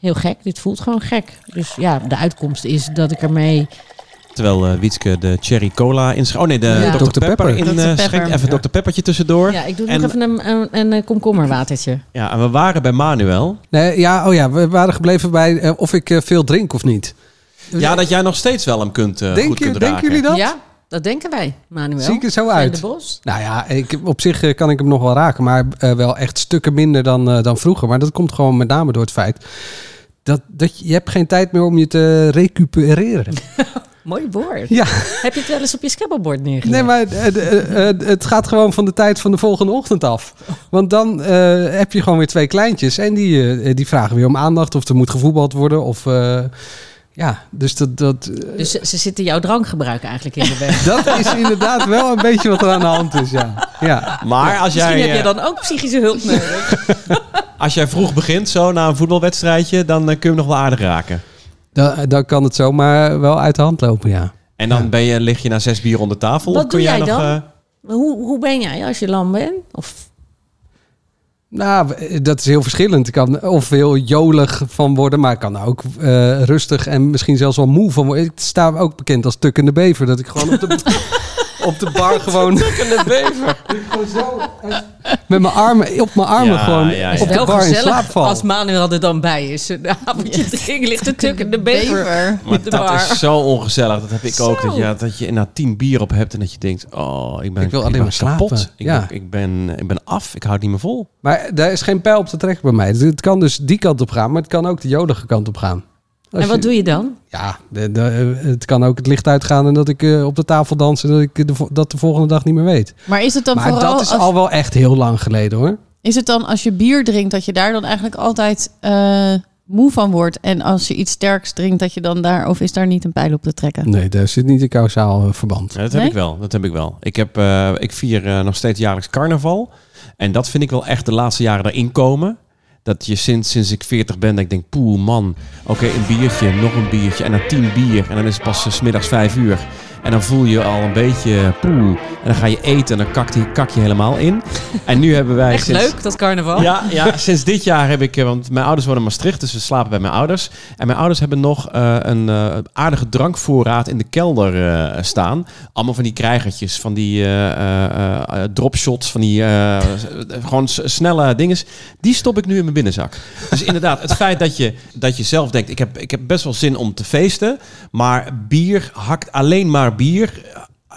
heel gek. Dit voelt gewoon gek. Dus ja, de uitkomst is dat ik ermee...
Terwijl eh, Wietske de cherry cola inschenkt. Oh nee, de
Ja.
Dr.
Dr. Pepper,
Pepper.
in, eh,
Dr. Pepper.
schenkt. Even
Ja.
Dr. Peppertje tussendoor. Ja.
Ja, ik doe
En-
nog even een, een, een, eh, komkommerwatertje.
en we waren bij Manuel.
Nee, ja, oh ja, we waren gebleven bij eh, of ik eh, veel drink of niet.
Ja, dat jij nog steeds wel hem kunt, eh,
Denk
goed
je-
kunt
denken
raken.
jullie dat?
Ja, dat denken wij, Manuel.
Zie ik er zo
Van
uit?
de Bos.
Nou ja, ik, op zich eh, kan ik hem nog wel raken, maar eh, wel echt stukken minder dan, eh, dan vroeger. Maar dat komt gewoon met name door het feit dat, dat je, je hebt geen tijd meer om je te recupereren.
Mooi woord.
Ja.
Heb je het wel eens op je scrabblebord neergelegd?
Nee, maar eh, de- eh, eh, het gaat gewoon van de tijd van de volgende ochtend af. Want dan eh, heb je gewoon weer twee kleintjes en die, eh, die vragen weer om aandacht of er moet gevoetbald worden of... eh, ja, dus dat, dat,
Dus ze, ze zitten jouw drankgebruik eigenlijk in de weg.
dat is inderdaad wel een beetje wat er aan de hand is, ja. ja.
Maar als
Misschien
jij,
heb
eh,
je dan ook psychische hulp nodig.
als jij vroeg begint, zo na een voetbalwedstrijdje, dan eh, kun je hem nog wel aardig raken.
Dan, dan kan het zomaar wel uit de hand lopen, ja.
En dan
Ja.
ben je, lig je na zes bier onder tafel.
Wat
of kun
doe
jij
jij
nog,
dan?
eh,
Maar hoe, hoe ben jij als je lam bent? Of
Nou, dat is heel verschillend. Ik kan of heel jolig van worden, maar ik kan ook eh, rustig en misschien zelfs wel moe van worden. Ik sta ook bekend als tukkende bever, dat ik gewoon op de, op de bar gewoon
een bever.
met mijn armen op mijn armen
Ja,
gewoon
ja, ja.
op de
wel
bar in slaap
gezellig
val.
als Manuel er dan bij is. Een avondje drinken ligt te tukken de bever.
Maar
de
dat
bar.
is zo ongezellig. Dat heb ik ook.
Zo.
Dat je, dat je inderdaad tien bier op hebt en dat je denkt... Oh, ik ben,
Ik wil alleen
ben
maar slapen.
kapot. Ik,
Ja.
ben, ik, ben, ik ben af. Ik houd niet meer vol.
Maar daar is geen pijl op te trekken bij mij. Het kan dus die kant op gaan, maar het kan ook de jolige kant op gaan. Als
En wat doe je dan?
Ja, de, de- het kan ook het licht uitgaan en dat ik eh, op de tafel dans en dat ik de, vo- dat de volgende dag niet meer weet.
Maar is het dan
Maar
vooral
dat is
als,
al wel echt heel lang geleden hoor.
is het dan als je bier drinkt dat je daar dan eigenlijk altijd eh, moe van wordt en als je iets sterks drinkt dat je dan daar of is daar niet een pijl op te trekken?
Nee, daar zit niet een kausaal eh, verband.
Ja, dat heb
Nee?
ik wel. Dat heb ik wel. Ik, heb, eh, ik vier eh, nog steeds jaarlijks carnaval. En dat vind ik wel echt de laatste jaren daarin komen. Dat je sinds, sinds ik 40 ben, dat ik denk, poeh man, oké, een biertje, nog een biertje en dan tien bier. En dan is het pas eh, 's middags vijf uur. En dan voel je al een beetje eh, poeh. En dan ga je eten en dan kakt die, kak je helemaal in. En nu hebben wij
Echt
sinds,
leuk, dat carnaval.
Ja, ja, sinds dit jaar heb ik, eh, want mijn ouders wonen in Maastricht, dus we slapen bij mijn ouders. En mijn ouders hebben nog eh, een eh, aardige drankvoorraad in de kelder eh, staan. Allemaal van die krijgertjes, van die eh, eh, eh, dropshots, van die eh, s- eh, gewoon s- snelle dinges. Die stop ik nu in mijn binnenzak. Dus inderdaad, het feit dat je, dat je zelf denkt, ik heb, ik heb best wel zin om te feesten, maar bier hakt alleen maar bier.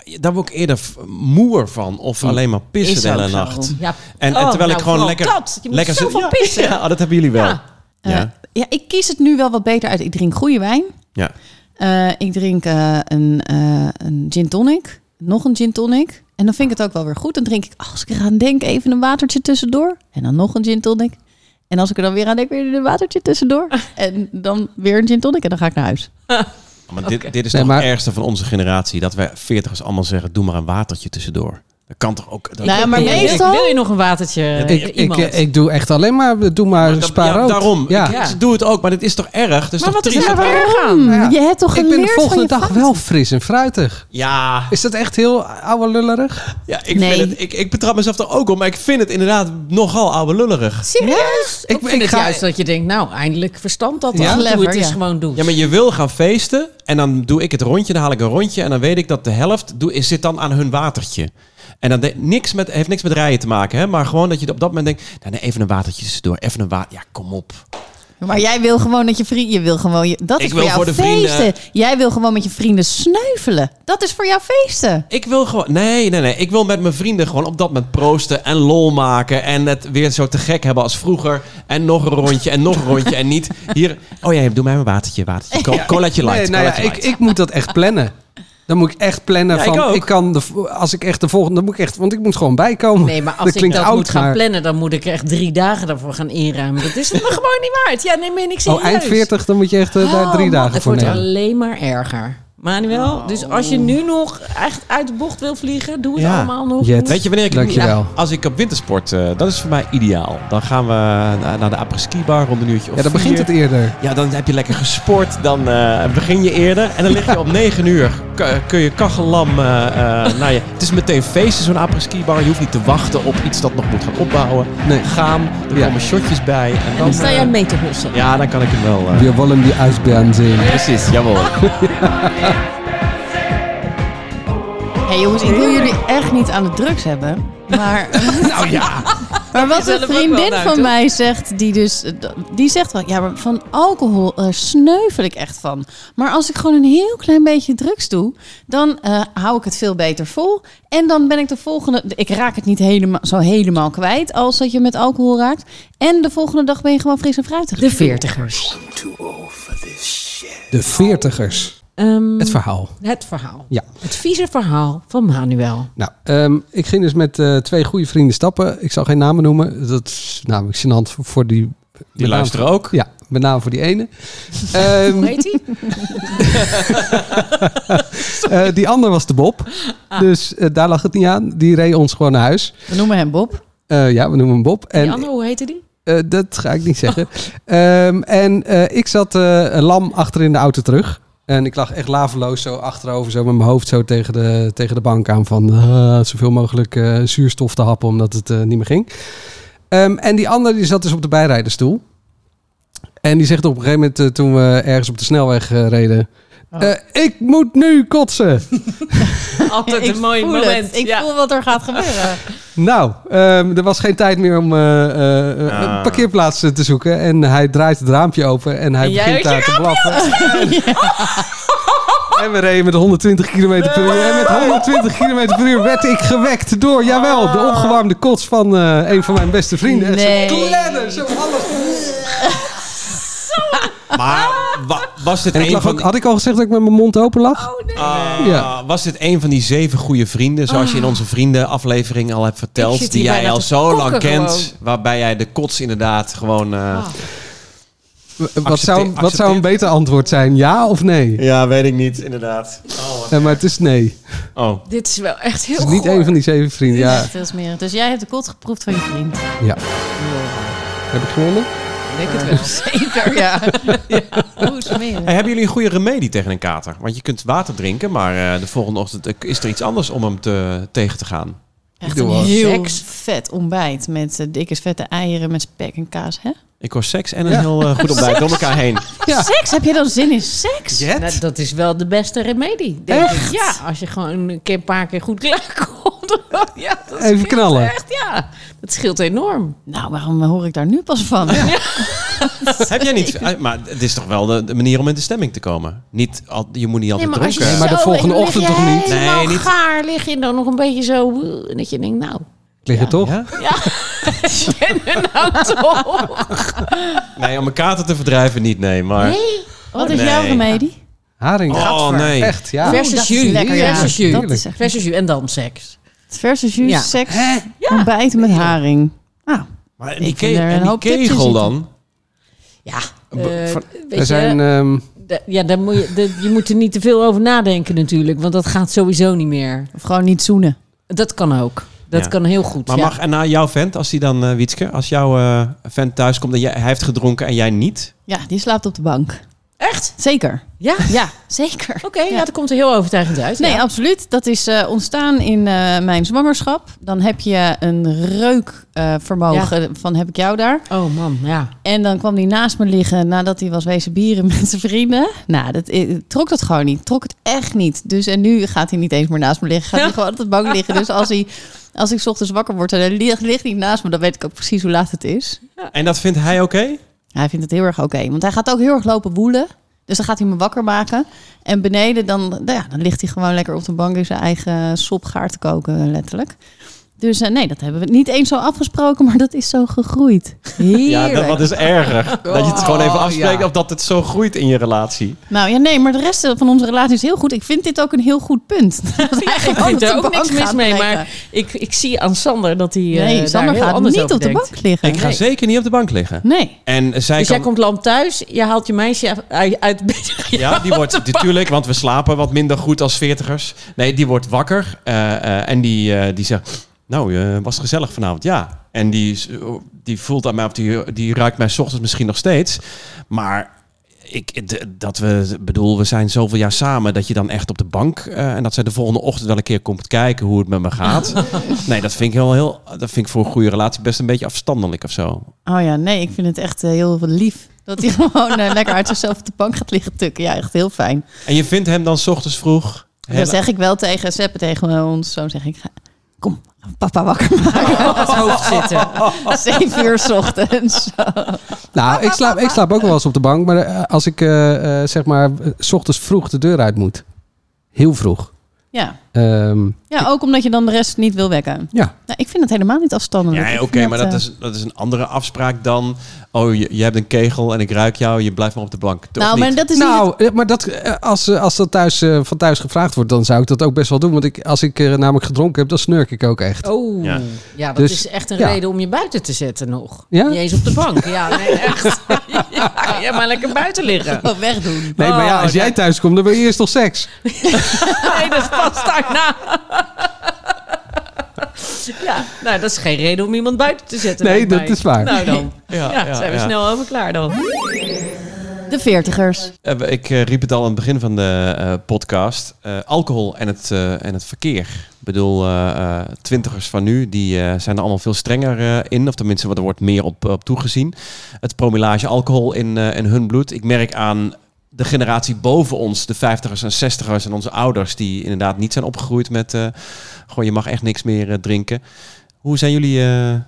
eh, Daar word ik eerder f- moeer van. Of alleen maar pissen
Is
de hele
ook zo.
nacht.
Ja.
En, en
Oh,
terwijl
nou,
ik gewoon
vooral
lekker,
dat. Je moet
lekker
zoveel
ja,
pissen.
Ja, dat hebben jullie wel.
Ja.
Eh,
Ja.
ja, ik kies het nu wel wat beter uit. Ik drink goede wijn.
Ja.
Eh, ik drink eh, een, eh, een gin tonic, nog een gin tonic. En dan vind ik het ook wel weer goed. Dan drink ik, als ik eraan denk, even een watertje tussendoor. En dan nog een gin tonic. En als ik er dan weer aan denk, weer een watertje tussendoor. En dan weer een gin tonic en dan ga ik naar huis.
Maar dit, dit is
Nee,
toch
maar-
het ergste van onze generatie. Dat wij veertigers allemaal zeggen, doe maar een watertje tussendoor. Dat kan toch ook... Dat,
Nou ja, maar
Wil je-
meestal-
Wil je nog een watertje? eh,
Ik, ik,
iemand?
ik, doe echt alleen maar, doe maar,
Maar dat-
spaar
ja,
rood.
daarom.
Ja.
Ik, ik doe het ook, maar dit is toch erg? Dus
maar
toch
wat is
triest?
er nou erg aan?
Hmm,
Ja.
Je hebt toch
Ik
geleerd
ben de volgende
van je
dag
fouten?
wel fris en fruitig.
Ja,
Is dat echt heel ouwe lullerig?
ja ik,
Nee.
vind het, ik, ik betrap mezelf er ook op, maar ik vind het inderdaad nogal oude lullerig.
Serieus?
Ik-
Ik, vind
ik
het
ga-
juist dat je denkt, nou, eindelijk verstand dat
Ja.
ja?
Clever,
het is
ja.
gewoon doen.
Ja, maar je wil gaan feesten en dan doe ik het rondje, dan haal ik een rondje en dan weet ik dat de helft doe, is- zit dan aan hun watertje. En dat de- niks met, heeft niks met rijden te maken, hè? maar gewoon dat je op dat moment denkt, nou, nee, even een watertje tussendoor, even een water, ja kom op.
Maar jij wil gewoon dat je vrienden... Je wil gewoon... Je, dat
Ik
is voor
wil
jou
voor de
feesten.
vrienden-
Jij wil gewoon met je vrienden snuivelen. Dat is voor jou feesten.
Ik wil gewoon, nee, nee, nee, ik wil met mijn vrienden gewoon op dat moment proosten en lol maken en het weer zo te gek hebben als vroeger en nog een rondje en nog een rondje en niet hier, oh ja, doe mij een watertje, watertje, Co- colaatje light,
nee, nou ja,
colaatje
ik,
light.
ik moet dat echt plannen. Dan moet ik echt plannen
Ja, ik
van,
ook.
kan de, vo- als ik echt de volgende, dan moet ik echt, want ik moet gewoon bijkomen.
Nee, maar als ik
dat klinkt
dat
oud,
moet gaan
maar-
plannen, dan moet ik er echt drie dagen daarvoor gaan inruimen. Dat is het me gewoon niet waard. Ja, nee, meen ik serieus.
Oh, eind 40, dan moet je echt Oh, eh, daar
Oh,
drie
man,
dagen
Het
voor
wordt
nemen. Oh.
alleen maar erger. Manuel, dus als je nu nog echt uit de bocht wil vliegen, doe het
Ja.
allemaal nog.
Jet.
jongens.
Weet je wanneer ik...
Dankjewel.
Als ik op wintersport, eh, dat is voor mij ideaal. Dan gaan we na- naar de apres-ski bar rond een uurtje of
Ja, dan begint
vier.
het eerder.
Ja, dan heb je lekker gesport. Dan eh, begin je eerder. En dan lig je om 9 uur. K- kun je kachellam eh, eh, naar je... Het is meteen feesten, zo'n apres-ski bar. Je hoeft niet te wachten op iets dat nog moet gaan opbouwen.
Nee.
Gaan, er
Ja.
komen shotjes bij. En
Dan
dan...
sta
eh,
jij mee te hossen.
ja, dan kan ik hem wel... eh,
We willen die ijsbaan zien.
Precies, jawel.
Hey jongens, ik wil jullie echt niet aan de drugs hebben. Maar,
nou ja.
maar wat
Jezelf
een
ook wel
vriendin
uit,
van
hoor.
mij zegt, die dus, eh, d- die zegt wel, ja, maar van alcohol eh, sneuvel ik echt van. Maar als ik gewoon een heel klein beetje drugs doe, dan eh, hou ik het veel beter vol. En dan ben ik de volgende, ik raak het niet helemaal, zo helemaal kwijt als dat je met alcohol raakt. En de volgende dag ben je gewoon fris en fruitig.
De veertigers.
De veertigers.
Ehm,
Het verhaal.
het verhaal.
Ja.
Het vieze verhaal van Manuel.
Nou, ehm, ik ging dus met eh, twee goede vrienden stappen. Ik zal geen namen noemen. Dat is namelijk gênant voor, voor die...
Die luisteren ook.
Ja, met name voor die ene. Ehm,
Hoe heet hij?
eh, die ander was de Bob. Dus eh, daar lag het niet aan. Die reed ons gewoon naar huis.
We noemen hem Bob.
Eh, ja, we noemen hem Bob.
Die
En
andere, hoe heette die?
Eh, dat ga ik niet zeggen. Ehm, en eh, ik zat eh, lam achter in de auto terug. En ik lag echt laveloos zo achterover, zo met mijn hoofd zo tegen de, tegen de bank aan. Van eh, zoveel mogelijk eh, zuurstof te happen, omdat het eh, niet meer ging. Ehm, en die andere die zat dus op de bijrijderstoel. En die zegt op een gegeven moment, eh, toen we ergens op de snelweg eh, reden...
Oh.
"Eh, ik moet nu kotsen.
Altijd
Ik
een mooi
voel het.
moment.
Ik
ja.
voel wat er gaat gebeuren.
Nou, ehm, er was geen tijd meer om eh, eh, eh,
Ah.
een parkeerplaats eh, te zoeken. En hij draait het raampje open en hij
En jij
begint
met
daar te blaffen. En- En we reden met 120 km per uur. En met 120 km per uur werd ik gewekt door, jawel, de opgewarmde kots van eh, een van mijn beste vrienden. En
Nee.
Zo kledden, zo alles.
Maar wa- was dit
En ik
een
lag
van...
ook, had ik al gezegd dat ik met mijn mond open lag?
Ah,
Ja.
Was dit een van die zeven goede vrienden, zoals je in onze vriendenaflevering al hebt
Ah. Ik
verteld,
zit
die
hier
jij
bijna
al
te
zo lang
kokken
kent,
gewoon. Ah.
waarbij jij de kots inderdaad gewoon... eh,
wat, zou, wat zou een
accepteer-
beter antwoord zijn, ja of nee?
Ja, weet ik niet, inderdaad. Oh,
Eh, maar het is nee.
oh.
Dit is wel echt heel
Het is niet
goor.
een van die zeven vrienden. Ja,
Echt heel smerig. Dus jij hebt de kot geproefd van je vriend.
ja. Heb ik gewonnen?
Ik denk het wel.
Zeker, ja. Hoe smerig.
Hey, hebben jullie een goede remedie tegen een kater? Want je kunt water drinken, maar eh, de volgende ochtend eh, is er iets anders om hem te, tegen te gaan.
Echt
doe
een
wel.
heel
Seks.
vet ontbijt met eh, dikke vette eieren met spek en kaas, hè?
Ik hoor seks en een
Ja.
heel eh, goed ontbijt door elkaar heen.
Ja.
Seks? Heb je dan zin in seks?
Nou, dat is wel de beste remedie, denk ik. Ja, als je gewoon een keer een paar keer goed klaarkomt. ja, dat
Even
scheelt
knallen.
Echt, ja. Dat scheelt enorm.
Nou, waarom hoor ik daar nu pas van?
Heb jij niet... eh, Maar het is toch wel de, de manier om in de stemming te komen? Niet al, je moet niet altijd dronken.
Nee, maar de
zo-
volgende
lig
ochtend
je
toch niet?
helemaal
Nee, niet-
gaar lig je dan nog een beetje zo... eh, dat je denkt, nou,
Lig je toch?
Ja?
ik ben er nou toch.
Nee, om een kater te verdrijven niet, nee. Maar...
Nee,
Wat is
Nee.
jouw remedie?
Haring.
Oh, nee.
Echt, ja.
Vers-
Oh,
Versus
dat is
jullie,
lekker, ja.
versus jullie.
Dat is echt-
versus u en dan seks.
Versus jullie
Ja.
seks, ontbijt met haring. Ah,
Maar
Ik vind er een hoop tips in
kegel
zitten.
dan?
Ja,
Eh,
eh,
van-
weet
Er zijn,
je,
ehm,
d- ja daar moet je, d- je moet er niet te veel over nadenken natuurlijk. Want dat gaat sowieso niet meer.
of gewoon niet zoenen.
Dat kan ook. Dat
Ja.
kan heel goed.
Maar
ja.
mag en na jouw vent, als die dan, eh, Wietske, als jouw eh, vent thuis komt en jij, hij heeft gedronken en jij niet?
Ja, die slaapt op de bank.
Echt?
Zeker.
Ja?
Ja, zeker.
Oké, ja. dat komt er heel overtuigend uit.
Nee,
ja.
absoluut. Dat is eh, ontstaan in eh, mijn zwangerschap. Dan heb je een reukvermogen van heb ik jou daar.
Oh man, ja.
En dan kwam hij naast me liggen nadat hij was wezen bieren met zijn vrienden. Nou, dat eh, trok dat gewoon niet. Trok het echt niet. Dus en nu gaat hij niet eens meer naast me liggen. Gaat hij gewoon op de bank liggen. Dus als, hij, als ik 's ochtends wakker word en hij ligt, ligt niet naast me, dan weet ik ook precies hoe laat het is.
En dat vindt hij oké?
Hij vindt het heel erg oké. want hij gaat ook heel erg lopen woelen. Dus dan gaat hij me wakker maken. En beneden dan, nou ja, dan ligt hij gewoon lekker op de bank in zijn eigen sop gaar te koken, letterlijk. Dus eh, nee, dat hebben we niet eens zo afgesproken, maar dat is zo gegroeid. Heerlijk.
Ja, dat, wat is erger? dat je het gewoon even
Oh,
afspreekt
ja.
of dat het zo groeit in je relatie.
Nou ja, nee, maar de rest van onze relatie is heel goed. Ik vind dit ook een heel goed punt. Dat
Ik
eigenlijk
vind
de
er ook
bank
niks mis
gaat
mee,
breken.
maar ik, ik zie aan Sander dat hij eh,
Nee, Sander
daar heel
gaat
anders
niet
over
op de
denkt.
bank liggen.
Ik ga
Nee.
zeker niet op de bank liggen.
Nee.
En zij
Dus
kan...
jij komt lam thuis, je haalt je meisje uit- uit bed.
Ja, die wordt natuurlijk, want we slapen wat minder goed als veertigers. Nee, die wordt wakker eh, eh, en die, eh, die zegt, nou, eh, was het gezellig vanavond, ja. En die, is- die voelt aan mij, of die, die ruikt mij 's ochtends misschien nog steeds. Maar ik, d- dat we, bedoel, we zijn zoveel jaar samen dat je dan echt op de bank eh, en dat zij de volgende ochtend wel een keer komt kijken hoe het met me gaat. nee, dat vind ik heel, heel, dat vind ik voor een goede relatie best een beetje afstandelijk of zo.
Oh ja, nee, ik vind het echt eh, heel lief. Dat hij gewoon eh, lekker uit zichzelf op de bank gaat liggen tukken. Ja, echt heel fijn.
En je vindt hem dan 's ochtends vroeg.
Dan zeg ik wel tegen Seppe, tegen ons, zo zeg ik... ga- Kom, papa wakker
Oh, op het hoofd zitten.
maken. Zeven uur 's ochtends.
Nou, ik slaap, ik slaap ook wel eens op de bank. Maar eh, als ik eh, eh, zeg maar eh, 's ochtends vroeg de deur uit moet. Heel vroeg.
Ja.
Ehm,
ja, ook omdat je dan de rest niet wil wekken.
ja.
Nou, ik vind het helemaal niet afstandelijk.
Ja,
Ik
oké,
vind
maar dat
eh,
is, dat is een andere afspraak dan... Oh, je, je hebt een kegel en ik ruik jou, je blijft maar op de bank. Toch
Nou,
niet?
maar dat is niet...
nou, eh, maar dat, eh, als, eh, als dat thuis, eh, van thuis gevraagd wordt, dan zou ik dat ook best wel doen. Want ik, als ik eh, namelijk gedronken heb, dan snurk ik ook echt.
Oh,
Ja.
ja, dat
Dus,
is echt een
ja.
reden om je buiten te zetten nog.
Ja?
Niet eens op de bank. Ja, nee, echt. Ja, ga jij maar lekker buiten liggen.
Gewoon wegdoen.
Nee, maar ja, als
Oh,
jij
dat-
thuis komt, dan wil je eerst nog seks.
Nee, dat is pas daarna. Ja, nou, dat is geen reden om iemand buiten te zetten.
Nee,
lijkt
dat
mij.
is waar.
Nou dan. Ja,
ja,
zijn we
ja.
snel over klaar dan.
De veertigers.
Eh, we- Ik eh, riep het al aan het begin van de eh, podcast. eh, alcohol en het, eh, en het verkeer. Ik bedoel, eh, eh, twintigers van nu, die eh, zijn er allemaal veel strenger eh, in. Of tenminste, er wordt meer op, op toegezien. Het promillage alcohol in, eh, in hun bloed. Ik merk aan de generatie boven ons, de vijftigers en zestigers en onze ouders... die inderdaad niet zijn opgegroeid met... eh, gewoon, je mag echt niks meer eh, drinken. Hoe zijn jullie eh, eh,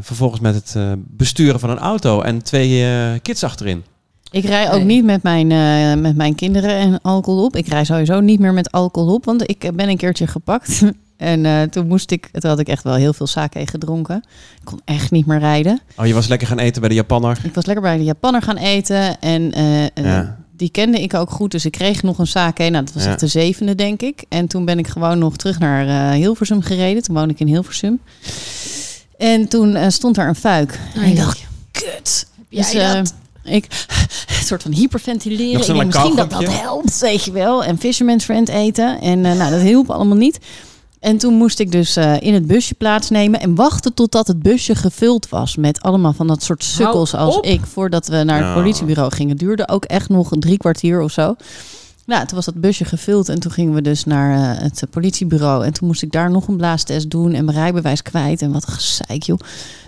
vervolgens met het eh, besturen van een auto en twee eh, kids achterin?
Ik rij ook
Nee.
niet met mijn, eh, met mijn kinderen en alcohol op. Ik rij sowieso niet meer met alcohol op, want ik eh, ben een keertje gepakt. En eh, toen moest ik, toen had ik echt wel heel veel sake gedronken. Ik kon echt niet meer rijden.
Oh, je was lekker gaan eten bij de Japanner.
Ik was lekker bij de Japanner gaan eten en eh, eh,
Ja.
die kende ik ook goed. Dus ik kreeg nog een sake. Nou, dat was
Ja.
echt de zevende, denk ik. En toen ben ik gewoon nog terug naar eh, Hilversum gereden. Toen woon ik in Hilversum. En toen eh, stond daar een fuik. en ik dacht, kut. Dus,
Oh, jij
eh, ik een soort van hyperventileren.
Nog
Ik
zo'n
denk misschien dat dat
kauwgompje?
helpt, weet je wel. En Fisherman's Friend eten. En eh, nou, dat hielp allemaal niet. En toen moest ik dus eh, in het busje plaatsnemen en wachten totdat het busje gevuld was met allemaal van dat soort sukkels
Hou
als
op.
ik. Voordat we naar het
Ja.
politiebureau gingen. Duurde ook echt nog een drie kwartier of zo. Nou, toen was dat busje gevuld en toen gingen we dus naar eh, het eh, politiebureau. En toen moest ik daar nog een blaastest doen en mijn rijbewijs kwijt. En wat een gezeik, joh.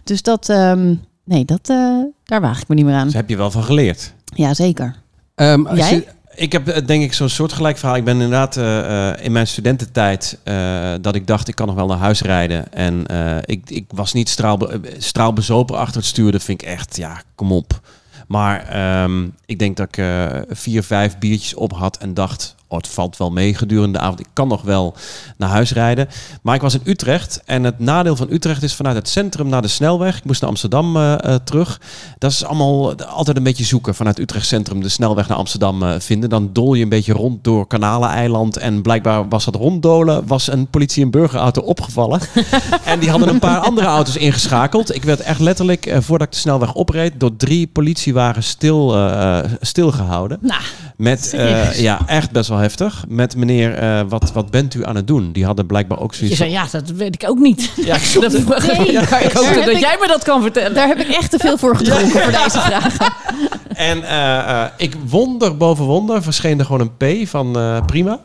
Dus dat, ehm, nee, dat, eh, daar waag ik me niet meer aan.
Dus heb je wel van geleerd.
Ja, zeker.
Ehm, als
Jij?
je-
Ik heb eh, denk ik zo'n soortgelijk verhaal. Ik ben inderdaad eh, eh, in mijn studententijd eh, dat ik dacht ik kan nog wel naar huis rijden. En eh, ik, ik was niet straalbe eh, straalbezopen achter het stuur. Dat vind ik echt, ja, kom op. Maar ehm, ik denk dat ik eh, vier, vijf biertjes op had en dacht, oh, het valt wel mee gedurende de avond. Ik kan nog wel naar huis rijden. Maar ik was in Utrecht en het nadeel van Utrecht is vanuit het centrum naar de snelweg. Ik moest naar Amsterdam eh, eh, terug. Dat is allemaal eh, altijd een beetje zoeken vanuit Utrecht centrum de snelweg naar Amsterdam eh, vinden. Dan dol je een beetje rond door Kanaleneiland en blijkbaar was dat ronddolen was een politie en burgerauto opgevallen. en die hadden een paar andere auto's ingeschakeld. Ik werd echt letterlijk eh, voordat ik de snelweg opreed door drie politiewagens stil, eh, eh, stilgehouden.
Nou,
Met, eh, ja, echt best wel heftig. Met meneer, eh, wat, wat bent u aan het doen? Die hadden blijkbaar ook
Je
zoiets.
zei, ja, dat weet ik ook niet.
Ja, ik
Dat, nee, ik hoop
Daar heb
dat
ik-
jij me dat kan vertellen.
daar heb ik echt te veel voor gedronken voor deze vraag.
En eh, eh, ik wonder boven wonder verscheen er gewoon een P van eh, prima.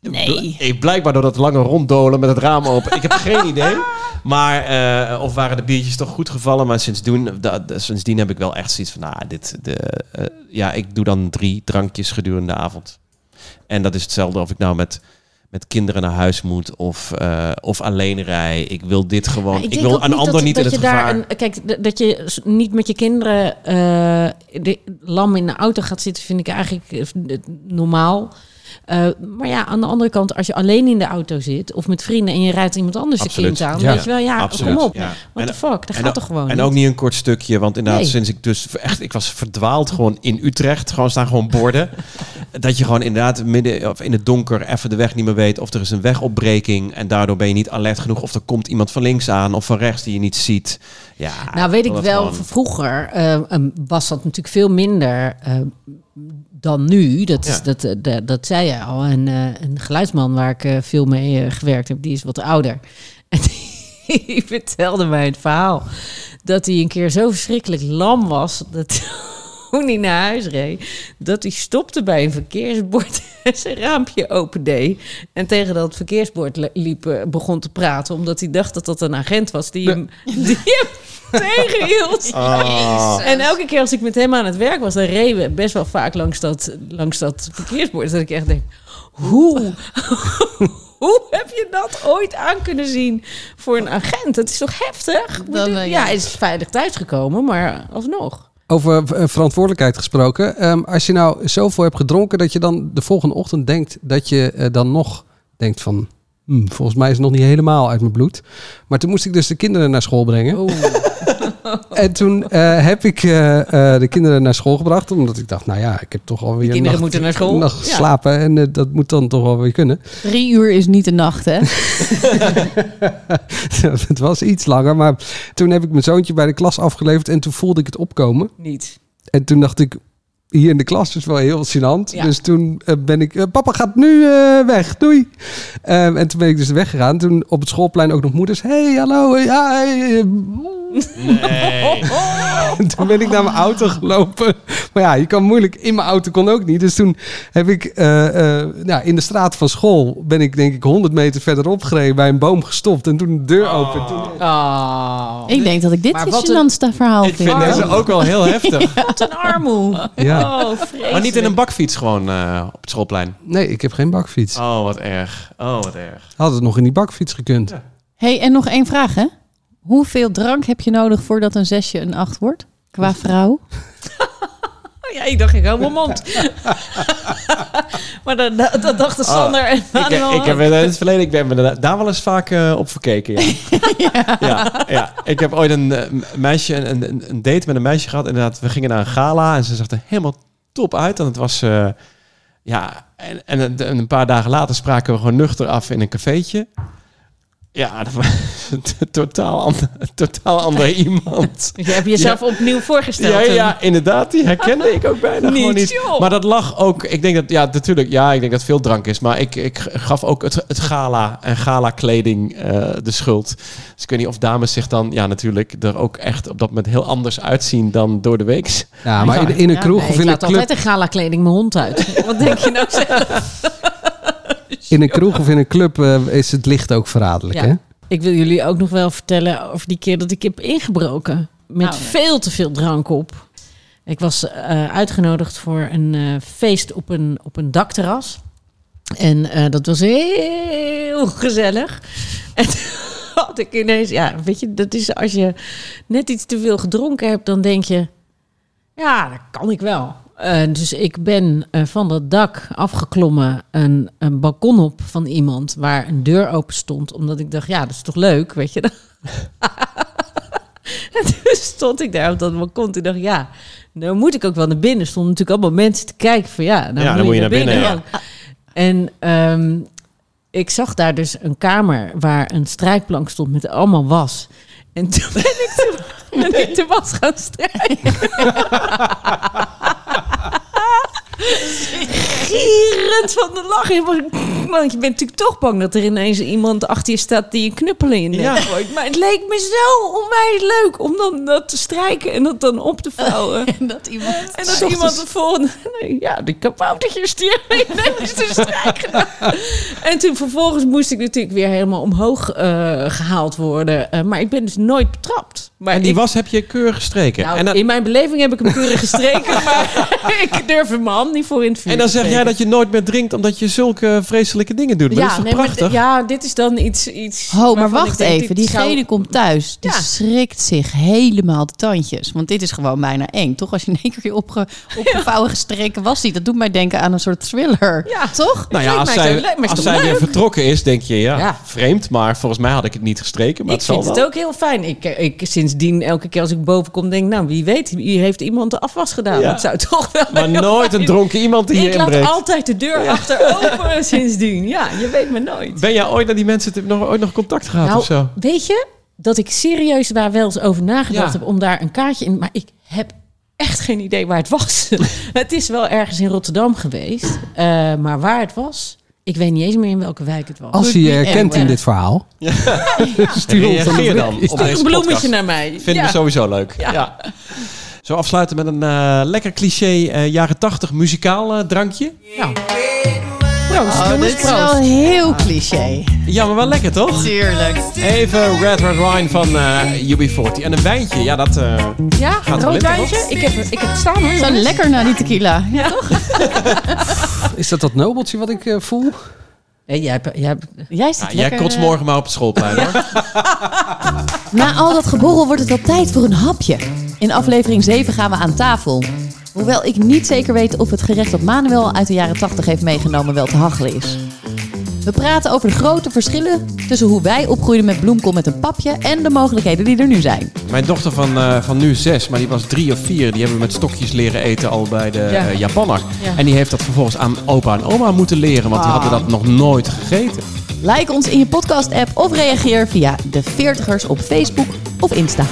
Nee.
Ik, blijkbaar door dat lange ronddolen met het raam open. Ik heb geen idee. Maar, eh, of waren de biertjes toch goed gevallen. Maar sindsdien, eh, da- da- sindsdien heb ik wel echt zoiets van... Nou, dit, de, eh, ja, ik doe dan drie drankjes gedurende de avond. En dat is hetzelfde of ik nou met, met kinderen naar huis moet of, eh, of alleen rij. Ik wil dit gewoon...
Maar
ik,
denk
wil
ook
een ander
dat,
niet
dat
in het
je
gevaar.
Daar een, kijk, d- dat je s- niet met je kinderen eh, de, lam in de auto gaat zitten, vind ik eigenlijk eh, v- d- normaal. Eh, maar ja, aan de andere kant, als je alleen in de auto zit of met vrienden en je rijdt iemand anders
Absoluut.
de kind aan,
Ja.
weet je wel, ja,
Absoluut,
kom op.
ja.
What
En-
the fuck, dat
en
gaat
ook-
toch gewoon
En
niet?
ook niet een kort stukje, want inderdaad,
Nee.
sinds ik dus echt, ik was verdwaald gewoon in Utrecht, gewoon staan gewoon borden. dat je gewoon inderdaad midden of in het donker even de weg niet meer weet, of er is een wegopbreking en daardoor ben je niet alert genoeg, of er komt iemand van links aan of van rechts die je niet ziet. Ja,
Nou, weet ik
dat
wel,
gewoon-
van vroeger eh, ehm, was dat natuurlijk veel minder eh, dan nu. Dat, is,
Ja.
dat, eh, dat, dat zei je al. En eh, een geluidsman waar ik eh, veel mee eh, gewerkt heb, die is wat ouder. En die vertelde mij het verhaal dat hij een keer zo verschrikkelijk lam was dat toen hij naar huis reed, dat hij stopte bij een verkeersbord en zijn raampje opendeed. En tegen dat verkeersbord li- liep, eh, begon te praten, omdat hij dacht dat dat een agent was die hem, die hem tegenhield.
Ah.
En elke keer als ik met hem aan het werk was, dan reden we best wel vaak langs dat, langs dat verkeersbord. Dat ik echt denk, hoe, hoe heb je dat ooit aan kunnen zien voor een agent? Dat is toch heftig?
Dan, eh,
ja,
ja.
hij is veilig thuisgekomen, maar alsnog.
Over eh, verantwoordelijkheid gesproken. Ehm, als je nou zoveel hebt gedronken dat je dan de volgende ochtend denkt dat je eh, dan nog denkt van... "Hmm, volgens mij is het nog niet helemaal uit mijn bloed. Maar toen moest ik dus de kinderen naar school brengen.
Oh.
En toen eh, heb ik eh, eh, de kinderen naar school gebracht. Omdat ik dacht, nou ja, ik heb toch alweer...
kinderen
nacht-
moeten naar school.
nacht
Ja.
slapen en eh, dat moet dan toch wel weer kunnen.
Drie uur is niet de nacht, hè?
het was iets langer, maar toen heb ik mijn zoontje bij de klas afgeleverd. En toen voelde ik het opkomen.
Niet.
En toen dacht ik, hier in de klas is wel heel gênant.
Ja.
Dus toen eh, ben ik, eh, papa gaat nu eh, weg, doei. Ehm, en toen ben ik dus weggegaan. Toen op het schoolplein ook nog moeders, hey, hallo, eh, ja, hey, eh,
Nee.
En toen ben ik naar mijn auto gelopen. Maar ja, je kan moeilijk, in mijn auto kon ook niet. Dus toen heb ik eh, eh, nou, in de straat van school, ben ik denk ik 100 meter verderop gereden, bij een boom gestopt. En toen de deur open. Toen,
Oh.
Ik denk dat ik dit
Maar
een
wat een-
gênant verhaal
Ik
vind.
vind deze ook wel heel heftig.
Wat een armoe.
ja.
Oh, vreselijk.
Maar niet in een bakfiets gewoon eh, op het schoolplein.
Nee, ik heb geen bakfiets.
Oh, wat erg. Oh, wat erg.
Had het nog in die bakfiets gekund.
hey, en nog één vraag, hè? Hoeveel drank heb je nodig voordat een zesje een acht wordt? Qua vrouw?
Oh ja, ik dacht, ik hou mijn mond. maar dat, dat, dat dachten Sander en
Oh. Ik,
Manuel.
ik heb eh, in het verleden, ik ben me da- daar wel eens vaak eh, op verkeken. Ja. ja. Ja, ik heb ooit een eh, m- meisje, een, een, een date met een meisje gehad. Inderdaad, we gingen naar een gala en ze zag er helemaal top uit. En het was, eh, ja, en, en, een- en een paar dagen later spraken we gewoon nuchter af in een cafeetje. Ja, dat was een t- totaal ander, een totaal ander iemand.
je hebt jezelf opnieuw voorgesteld.
Ja,
toen.
ja, inderdaad. Die herkende ik ook bijna
Niet,
gewoon niet.
joh.
Maar dat lag ook... Ik denk dat... Ja, natuurlijk. Ja, ik denk dat veel drank is. Maar ik, ik gaf ook het, het gala en gala-kleding eh, de schuld. Dus ik weet niet of dames zich dan... Ja, natuurlijk. Er ook echt op dat moment heel anders uitzien dan door de week.
Ja, maar in, in een
Ja,
kroeg
nee,
of
Ik
in een
laat
club
altijd in gala kleding mijn hond uit. Wat denk je nou zelf?
In een kroeg of in een club eh, is het licht ook verraderlijk,
Ja.
hè?
Ik wil jullie ook nog wel vertellen over die keer dat ik heb ingebroken. Met
Nou, nee.
veel te veel drank op. Ik was eh, uitgenodigd voor een eh, feest op een, op een dakterras. En eh, dat was heel gezellig. En toen had ik ineens... Ja, weet je, dat is als je net iets te veel gedronken hebt... dan denk je, ja, dat kan ik wel. Eh, dus ik ben eh, van dat dak afgeklommen, een, een balkon op van iemand waar een deur open stond, omdat ik dacht, ja, dat is toch leuk, weet je. en toen stond ik daar op dat balkon, toen dacht ik, ja, nou moet ik ook wel naar binnen. Stonden natuurlijk allemaal mensen te kijken van, ja, nou
Ja,
moet, je naar binnen. ook. En ehm, ik zag daar dus een kamer waar een strijkplank stond met allemaal was. En toen ben ik te, ben ik te was gaan strijken. Gierend van de lach. Ik was- Want je bent natuurlijk toch bang dat er ineens iemand achter je staat die een knuppel in je nek
Ja.
gooit. Maar het leek me zo onwijs leuk om dan dat te strijken en dat dan op te vouwen.
En dat iemand...
En dat iemand de volgende... Nee, ja, die kaboutertjes die hebben ineens de strijk gedaan. En toen vervolgens moest ik natuurlijk weer helemaal omhoog eh, gehaald worden. Eh, maar ik ben dus nooit betrapt. Maar
En die
ik-
was heb je keurig gestreken.
nou,
en dan,
In mijn beleving heb ik hem keurig gestreken. maar ik durf in mijn handen hand niet voor in het vuur.
En dan zeg jij
steken.
dat je nooit meer drinkt omdat je zulke vreselijke dingen doet. Maar dat is toch
nee, maar
prachtig?
d- ja, dit is dan iets. iets
Ho, maar
waarvan ik
wacht
denk,
even.
dit
Diegene
zou-
komt thuis. Die
Ja.
schrikt zich helemaal de tandjes. Want dit is gewoon bijna eng, toch? Als je in één keer je opge, opgevouwen gestreken was die. Dat doet mij denken aan een soort thriller.
Ja.
Toch?
Nou ja,
Lijkt
als
mij zo-
zij,
lijkt mij
als
zo
zij weer
leuk.
vertrokken is, denk je, ja,
Ja.
vreemd. Maar volgens mij had ik het niet gestreken. Maar
Ik
het zal
vind het
wel.
ook heel fijn. Ik, eh, ik sindsdien elke keer als ik boven kom, denk nou wie weet, hier heeft iemand de afwas gedaan.
Ja.
Dat zou toch wel.
Maar
heel
nooit een
fijn-
dronken iemand die je
Ik laat
inbreekt.
altijd de deur achter open sindsdien. Ja, je weet me nooit.
Ben jij ooit naar die mensen te- nog, ooit nog contact gehad
Nou,
of Nou, zo?
weet je dat ik serieus daar wel eens over nagedacht
Ja.
heb om daar een kaartje in, maar ik heb echt geen idee waar het was. het is wel ergens in Rotterdam geweest, eh, maar waar het was, ik weet niet eens meer in welke wijk het was.
Oh,
Als je je
eh,
herkent in dit verhaal, stuur ons dan
Reageer
een
dan op
berichtje.
Stuur
deze
een bloemetje
podcast.
naar mij.
Vinden
Ja.
we sowieso leuk. Ja.
Ja.
Zo afsluiten met een eh, lekker cliché eh, jaren 80 muzikaal eh, drankje.
Nou. Proost,
Oh,
jongens,
dit is wel
proost.
heel cliché.
Ja, maar wel lekker toch?
Tuurlijk.
Even Red Red Wine van eh, UB40. En een wijntje, ja dat... eh,
Ja,
Gaat wel
rood
lekker,
wijntje. Ik heb, ik heb het staan hoor.
Zo
jongens.
lekker na die tequila. Ja.
Is dat dat nobeltje wat ik eh, voel?
Nee, jij, hebt- jij hebt-
Jij zit
ja, Ah, jij
lekker,
kotst
eh,
morgen maar op het schoolplein hoor.
Na al dat geborrel wordt het wel tijd voor een hapje. In aflevering 7 gaan we aan tafel. Hoewel ik niet zeker weet of het gerecht dat Manuel uit de jaren 80 heeft meegenomen wel te hachelen is. We praten over de grote verschillen tussen hoe wij opgroeiden met bloemkool met een papje en de mogelijkheden die er nu zijn.
Mijn dochter van, eh, van nu zes, maar die was drie of vier. Die hebben met stokjes leren eten al bij de
Ja.
eh, Japanner.
Ja.
En die heeft dat vervolgens aan opa en oma moeten leren. Want die
Ah.
hadden dat nog nooit gegeten.
Like ons in je podcast-app of reageer via de Veertigers op Facebook of Insta.